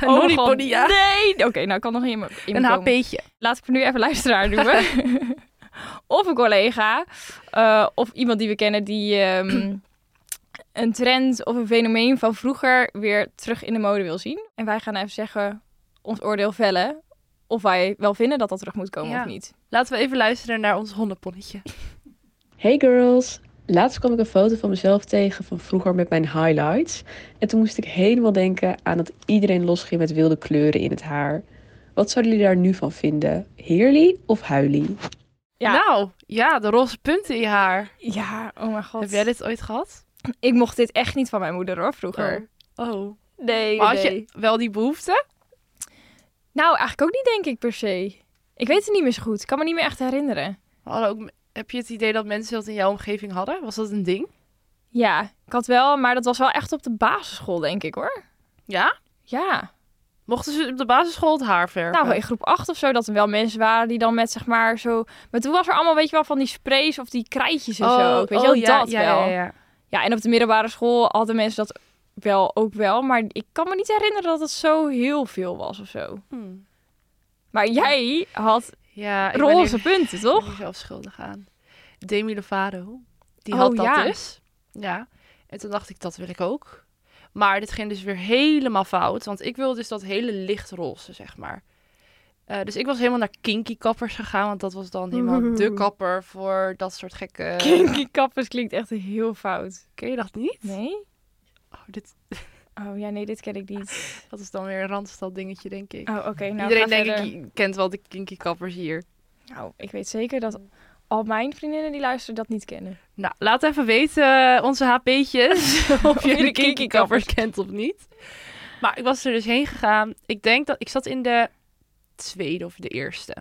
Speaker 1: Een
Speaker 2: Oh,
Speaker 1: honeypony,
Speaker 2: god.
Speaker 1: ja.
Speaker 2: Nee! Oké, nou kan nog in me in me
Speaker 1: Een
Speaker 2: komen.
Speaker 1: HP'tje.
Speaker 2: Laat ik voor nu even luisteraar noemen. of een collega. eh, of iemand die we kennen die ehm, een trend of een fenomeen van vroeger weer terug in de mode wil zien. En wij gaan even zeggen, ons oordeel vellen. Of wij wel vinden dat dat terug moet komen
Speaker 1: Ja.
Speaker 2: of niet.
Speaker 1: Laten we even luisteren naar ons hondenponnetje.
Speaker 3: Hey girls! Laatst kwam ik een foto van mezelf tegen van vroeger met mijn highlights. En toen moest ik helemaal denken aan dat iedereen losging met wilde kleuren in het haar. Wat zouden jullie daar nu van vinden? Heerly of huilie?
Speaker 2: Ja.
Speaker 1: Nou, ja, de roze punten in je haar.
Speaker 2: Ja, oh mijn god.
Speaker 1: Heb jij dit ooit gehad?
Speaker 2: Ik mocht dit echt niet van mijn moeder hoor, vroeger.
Speaker 1: Oh.
Speaker 2: Nee,
Speaker 1: Maar had
Speaker 2: nee.
Speaker 1: je wel die behoefte?
Speaker 2: Nou, eigenlijk ook niet denk ik per se. Ik weet het niet meer zo goed. Ik kan me niet meer echt herinneren.
Speaker 1: Hadden ook, heb je het idee dat mensen dat in jouw omgeving hadden? Was dat een ding?
Speaker 2: Ja, ik had wel, maar dat was wel echt op de basisschool denk ik hoor.
Speaker 1: Ja?
Speaker 2: Ja.
Speaker 1: Mochten ze op de basisschool het haar verven?
Speaker 2: Nou, in groep 8 of zo, dat er wel mensen waren die dan met zeg maar zo. Maar toen was er allemaal, weet je wel, van die sprays of die krijtjes en zo. Ook, weet je wel,
Speaker 1: ja,
Speaker 2: dat
Speaker 1: Oh, ja,
Speaker 2: wel.
Speaker 1: Ja,
Speaker 2: Oh, Ja,
Speaker 1: ja.
Speaker 2: en op de middelbare school hadden mensen dat wel ook wel. Maar ik kan me niet herinneren dat het zo heel veel was of zo.
Speaker 1: Hmm.
Speaker 2: Maar jij had
Speaker 1: ja ik ben
Speaker 2: roze
Speaker 1: hier-
Speaker 2: punten,
Speaker 1: ik ben
Speaker 2: toch?
Speaker 1: hier zelf schuldig aan. Demi Lovato, die
Speaker 2: Oh,
Speaker 1: had dat
Speaker 2: ja.
Speaker 1: dus. Ja. En toen dacht ik, dat wil ik ook. Maar dit ging dus weer helemaal fout. Want ik wilde dus dat hele lichtroze, zeg maar. Eh, dus ik was helemaal naar kinky kappers gegaan. Want dat was dan helemaal de kapper voor dat soort gekke...
Speaker 2: Kinky kappers klinkt echt heel fout.
Speaker 1: Ken je dat niet?
Speaker 2: Nee?
Speaker 1: Oh, dit,
Speaker 2: Oh ja, nee, dit ken ik niet.
Speaker 1: dat is dan weer een Randstad dingetje, denk ik.
Speaker 2: Oh, oké. nou,
Speaker 1: Iedereen
Speaker 2: ga
Speaker 1: denk
Speaker 2: verder.
Speaker 1: ik kent wel de kinky kappers hier.
Speaker 2: Nou, ik weet zeker dat al mijn vriendinnen die luisteren dat niet kennen.
Speaker 1: Nou, laat even weten, eh, onze HP'tjes, of je de kinky kappers kent of niet. Maar ik was er dus heen gegaan. Ik denk dat ik zat in de tweede of de eerste.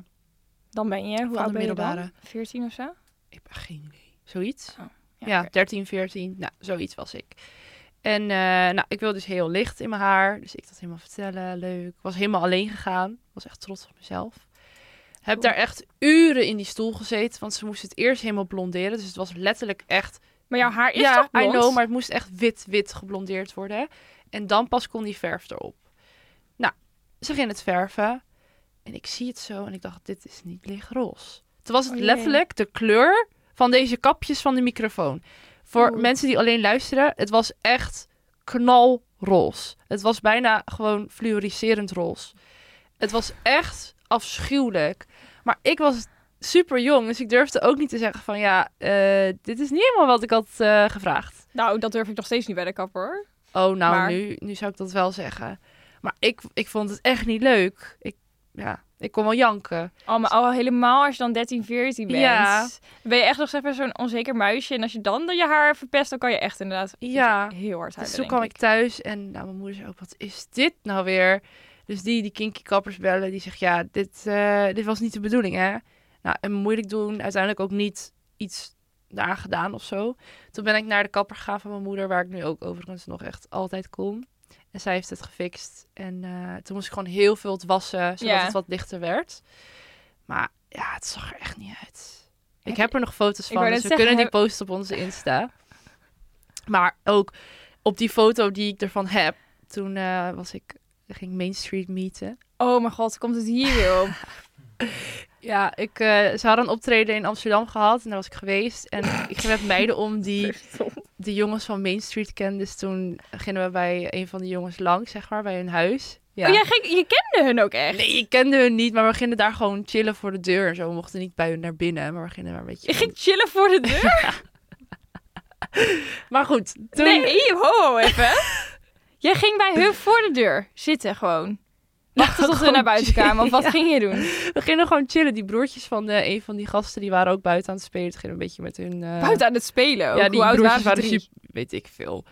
Speaker 2: Dan ben je, hoe
Speaker 1: de
Speaker 2: oud ben je dan?
Speaker 1: middelbare.
Speaker 2: 14 of zo?
Speaker 1: Ik heb geen idee. Zoiets?
Speaker 2: Oh,
Speaker 1: ja,
Speaker 2: oké.
Speaker 1: 13, 14. Nou, zoiets was ik. En eh, nou, ik wilde dus heel licht in mijn haar. Dus ik dat helemaal vertellen. Leuk. Ik was helemaal alleen gegaan. Was echt trots op mezelf. Heb
Speaker 2: Cool.
Speaker 1: daar echt uren in die stoel gezeten. Want ze moesten het eerst helemaal blonderen. Dus het was letterlijk echt
Speaker 2: Maar jouw haar is
Speaker 1: ja,
Speaker 2: toch
Speaker 1: I
Speaker 2: blond?
Speaker 1: know, maar het moest echt wit-wit geblondeerd worden. En dan pas kon die verf erop. Nou, ze ging het verven. En ik zie het zo en ik dacht, dit is niet lichtroze. Toen was het
Speaker 2: Oh jee.
Speaker 1: letterlijk de kleur van deze kapjes van de microfoon. Voor
Speaker 2: Oeh.
Speaker 1: mensen die alleen luisteren, het was echt knalroze. Het was bijna gewoon fluoriserend roze. Het was echt afschuwelijk. Maar ik was super jong, dus ik durfde ook niet te zeggen van ja, eh, dit is niet helemaal wat ik had eh, gevraagd.
Speaker 2: Nou, dat durf ik nog steeds niet bij de kapper. hoor.
Speaker 1: Oh, nou,
Speaker 2: Maar-
Speaker 1: nu, nu zou ik dat wel zeggen. Maar ik, ik vond het echt niet leuk. Ik, ja, ik kon wel janken.
Speaker 2: Al, Oh, maar al helemaal als je dan 13, 14 bent.
Speaker 1: Ja.
Speaker 2: Ben je echt nog eens even zo'n onzeker muisje. En als je dan je haar verpest, dan kan je echt inderdaad
Speaker 1: Ja.
Speaker 2: heel hard
Speaker 1: Dus
Speaker 2: huilen,
Speaker 1: toen
Speaker 2: denk
Speaker 1: kwam ik thuis en nou, mijn moeder zei ook, wat is dit nou weer? Dus die, die kinky kappers bellen, die zegt, ja, dit, eh, dit was niet de bedoeling, hè? Nou, en moeilijk doen, uiteindelijk ook niet iets daar gedaan of zo. Toen ben ik naar de kapper gegaan van mijn moeder, waar ik nu ook overigens nog echt altijd kom. En zij heeft het gefixt. En eh, toen moest ik gewoon heel veel het wassen, zodat
Speaker 2: Ja.
Speaker 1: het wat lichter werd. Maar ja, het zag er echt niet uit.
Speaker 2: Heb
Speaker 1: Ik heb er nog foto's
Speaker 2: Ik
Speaker 1: van,
Speaker 2: wou
Speaker 1: dus we
Speaker 2: net zeggen,
Speaker 1: kunnen die posten op onze Insta. Maar ook op die foto die ik ervan heb, toen eh, was ik Ik ging Main Street meeten.
Speaker 2: Oh mijn god, komt het hier weer op?
Speaker 1: Ja, ik, eh, ze hadden een optreden in Amsterdam gehad en daar was ik geweest. En ik ging met meiden om die de jongens van Main Street kenden. Dus toen gingen we bij een van de jongens langs, zeg maar, bij hun huis. Ja.
Speaker 2: Oh, jij ging, je kende hun ook echt?
Speaker 1: Nee, ik kende hun niet, maar we gingen daar gewoon chillen voor de deur en zo. We mochten niet bij hun naar binnen, maar we gingen maar een beetje...
Speaker 2: Je ging chillen voor de deur?
Speaker 1: Maar goed, toen...
Speaker 2: Nee, ho, ho even. jij ging bij hun voor de deur zitten gewoon. Wachten tot ze
Speaker 1: gewoon
Speaker 2: naar buiten
Speaker 1: chillen,
Speaker 2: kwamen. Of wat
Speaker 1: ja.
Speaker 2: ging je doen?
Speaker 1: We gingen gewoon chillen. Die broertjes van eh, een van die gasten, die waren ook buiten aan het spelen. Toen gingen we een beetje met hun... eh,
Speaker 2: Buiten aan het spelen ook.
Speaker 1: Ja, die
Speaker 2: Hoe oud
Speaker 1: broertjes
Speaker 2: waren,
Speaker 1: waren
Speaker 2: ze? Drie?
Speaker 1: super- weet ik veel,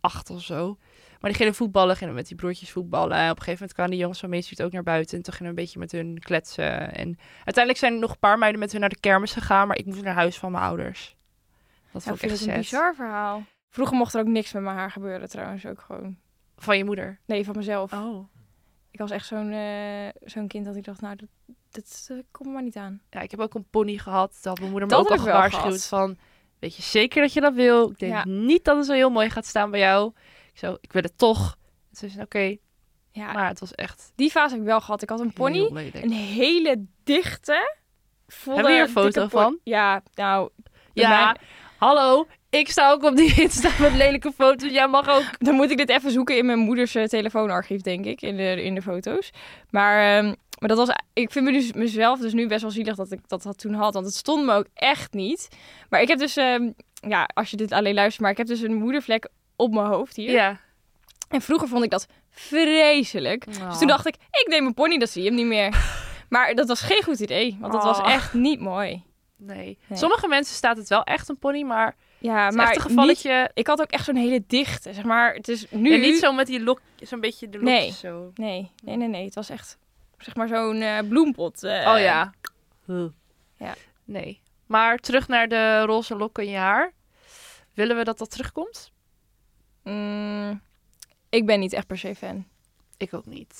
Speaker 1: acht of zo. Maar die gingen voetballen, gingen met die broertjes voetballen. En op een gegeven moment kwamen die jongens van Main Street ook naar buiten. En toen gingen we een beetje met hun kletsen. En uiteindelijk zijn er nog een paar meiden met hun naar de kermis gegaan. Maar ik moest naar huis van mijn ouders. Dat
Speaker 2: Ja, ik
Speaker 1: vond ik
Speaker 2: Oh, vind
Speaker 1: echt
Speaker 2: het een
Speaker 1: zet.
Speaker 2: bizar verhaal. Vroeger mocht er ook niks met mijn haar gebeuren trouwens. Ook gewoon.
Speaker 1: Van je moeder.
Speaker 2: Nee, van mezelf.
Speaker 1: Oh.
Speaker 2: Ik was echt zo'n eh, zo'n kind dat ik dacht, nou, dat, dat eh, komt me maar niet aan.
Speaker 1: Ja, ik heb ook een pony gehad. Dat had mijn moeder me
Speaker 2: Dat
Speaker 1: ook al
Speaker 2: heb ik wel
Speaker 1: gewaarschuwd
Speaker 2: gehad.
Speaker 1: van... Weet je zeker dat je dat wil? Ik denk
Speaker 2: Ja.
Speaker 1: niet dat het zo heel mooi gaat staan bij jou. Ik zo, ik wil het toch. Het is oké.
Speaker 2: Ja,
Speaker 1: Maar het was echt
Speaker 2: die fase heb ik wel gehad. Ik had een Ah. pony,
Speaker 1: heel lelijk.
Speaker 2: een hele dichte, volle...
Speaker 1: Hebben we hier een
Speaker 2: dikke
Speaker 1: foto
Speaker 2: pon-
Speaker 1: van?
Speaker 2: Ja, nou,
Speaker 1: Ja,
Speaker 2: Mijn-
Speaker 1: hallo. Ik sta ook op die Insta met lelijke foto's. Jij mag ook.
Speaker 2: dan moet ik dit even zoeken in mijn moeders eh, telefoonarchief, denk ik, in de, in de foto's. Maar, ehm, maar dat was, ik vind me dus, mezelf dus nu best wel zielig dat ik dat, dat toen had, want het stond me ook echt niet. Maar ik heb dus, ehm, ja, als je dit alleen luistert, maar ik heb dus een moedervlek op mijn hoofd hier.
Speaker 1: Ja.
Speaker 2: En vroeger vond ik dat vreselijk. Dus
Speaker 1: Oh,
Speaker 2: toen dacht ik, ik neem een pony, dan zie je hem niet meer. Maar dat was geen goed idee, want dat was
Speaker 1: Oh.
Speaker 2: echt niet mooi.
Speaker 1: Nee.
Speaker 2: Nee.
Speaker 1: Sommige mensen staat het wel echt een pony, maar het
Speaker 2: Ja,
Speaker 1: is
Speaker 2: maar
Speaker 1: echt een gevalletje.
Speaker 2: niet- ik had ook echt zo'n hele dichte, zeg maar. Het is nu...
Speaker 1: En niet zo met die lok, zo'n beetje de
Speaker 2: Nee.
Speaker 1: lokjes zo.
Speaker 2: Nee, nee, nee, nee. Het was echt, zeg maar, zo'n eh, bloempot. eh.
Speaker 1: Oh ja.
Speaker 2: Ja.
Speaker 1: Nee. Maar terug naar de roze lokken in je haar. Willen we dat dat terugkomt?
Speaker 2: Mm, ik ben niet echt per se fan.
Speaker 1: Ik ook niet.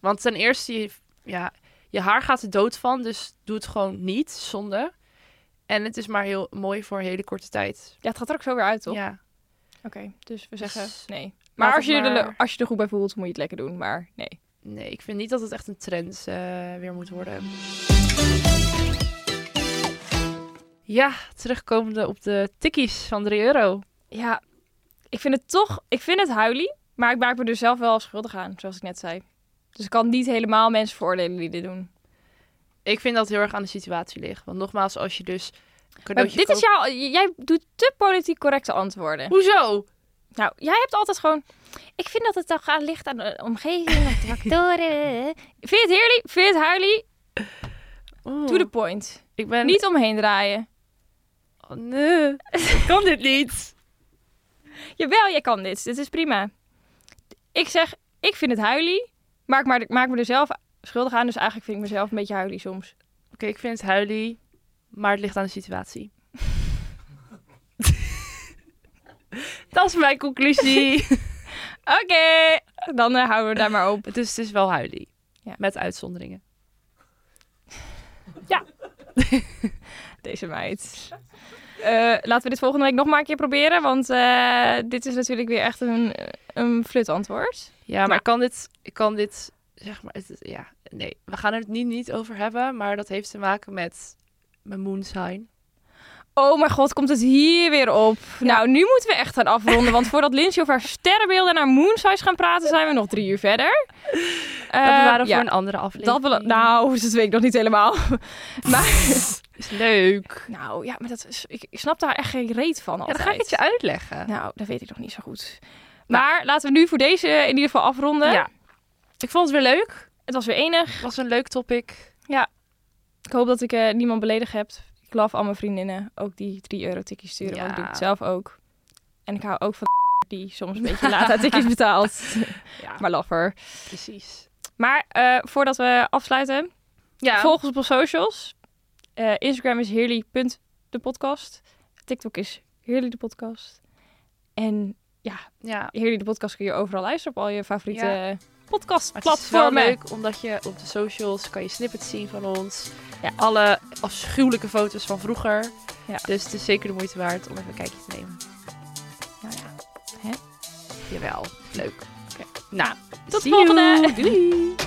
Speaker 1: Want ten eerste, je, ja, je haar gaat er dood van, dus doe het gewoon niet, zonde. En het is maar heel mooi voor een hele korte tijd.
Speaker 2: Ja, het gaat er ook zo weer uit, toch?
Speaker 1: Ja.
Speaker 2: Oké, dus we zeggen
Speaker 1: Dus
Speaker 2: nee.
Speaker 1: laat
Speaker 2: Maar als
Speaker 1: het
Speaker 2: je, er,
Speaker 1: maar-
Speaker 2: le- als je er goed bij voelt, moet je het lekker doen. Maar nee.
Speaker 1: Nee, ik vind niet dat het echt een trend eh, weer moet worden. Ja, terugkomende op de tikkies van 3 euro.
Speaker 2: Ja, ik vind het toch, ik vind het huilie. Maar ik maak me er zelf wel schuldig aan, zoals ik net zei. Dus ik kan niet helemaal mensen veroordelen die dit doen.
Speaker 1: Ik vind dat heel erg aan de situatie ligt. Want nogmaals, als je dus... een
Speaker 2: Maar
Speaker 1: cadeautje
Speaker 2: dit is
Speaker 1: koopt-
Speaker 2: jouw, jij doet te politiek correcte antwoorden.
Speaker 1: Hoezo?
Speaker 2: Nou, jij hebt altijd gewoon. Ik vind dat het toch aan ligt aan de omgeving, aan de factoren. eh, vind je het heerlijk? Vind je het huilie?
Speaker 1: Oeh,
Speaker 2: To the point.
Speaker 1: Ik ben...
Speaker 2: Oh. Niet omheen draaien.
Speaker 1: Oh, nee, ik kan dit niet.
Speaker 2: Jawel, jij kan dit. Dit is prima. Ik zeg, ik vind het huilie. Maar ik maak, maak me er zelf schuldig aan. Dus eigenlijk vind ik mezelf een beetje huilie soms.
Speaker 1: Oké, ik vind het huilie, maar het ligt aan de situatie. dat is mijn conclusie.
Speaker 2: Oké, dan eh, houden we daar maar op.
Speaker 1: het, is, het is wel huilie.
Speaker 2: Ja.
Speaker 1: Met uitzonderingen.
Speaker 2: Deze meid. Eh, laten we dit volgende week nog maar een keer proberen. Want eh, dit is natuurlijk weer echt een, een flutantwoord.
Speaker 1: Ja, maar
Speaker 2: Ja.
Speaker 1: ik kan dit, ik kan dit, zeg maar, het, is- ja, nee, we gaan het niet, niet over hebben, maar dat heeft te maken met mijn moon sign.
Speaker 2: Oh mijn god, komt het hier weer op. Nou, nu moeten we echt gaan afronden. Want voordat Lindsay over haar sterrenbeelden en haar moonsize gaan praten, zijn we nog drie uur verder.
Speaker 1: Dat
Speaker 2: Eh,
Speaker 1: bewaren we
Speaker 2: ja,
Speaker 1: voor een andere aflevering.
Speaker 2: dat bela- Nou, dat weet ik nog niet helemaal. Maar,
Speaker 1: is leuk.
Speaker 2: nou ja, maar dat is, ik, ik snap daar echt geen reet van
Speaker 1: Ja,
Speaker 2: altijd.
Speaker 1: dan ga ik het je uitleggen.
Speaker 2: Nou, dat weet ik nog niet zo goed. Maar laten we nu voor deze in ieder geval afronden.
Speaker 1: Ja. Ik vond het weer leuk.
Speaker 2: Het was weer enig.
Speaker 1: Het was een leuk topic.
Speaker 2: Ik hoop dat ik eh, niemand beledigd heb. Ik love al mijn vriendinnen. Ook die 3 euro tikjes sturen. Want ik doe
Speaker 1: Ja.
Speaker 2: het zelf ook. En ik hou ook van die soms een beetje laat aan tikjes betaalt.
Speaker 1: Ja,
Speaker 2: Maar lover.
Speaker 1: precies.
Speaker 2: Maar eh, voordat we afsluiten,
Speaker 1: Ja,
Speaker 2: volg ons op onze socials. Eh, Instagram is heerly.depodcast. TikTok is heerly de podcast. En
Speaker 1: ja.
Speaker 2: heerly de podcast kun je overal luisteren op al je favoriete
Speaker 1: Ja. Maar het is wel
Speaker 2: podcastplatformen.
Speaker 1: leuk, omdat je op de socials kan je snippets zien van ons.
Speaker 2: Ja.
Speaker 1: Alle afschuwelijke foto's van vroeger.
Speaker 2: Ja.
Speaker 1: Dus het is zeker de moeite waard om even een kijkje te nemen.
Speaker 2: Nou ja,
Speaker 1: Jawel, leuk.
Speaker 2: oké.
Speaker 1: Nou,
Speaker 2: Tot
Speaker 1: see
Speaker 2: volgende.
Speaker 1: you. Doei.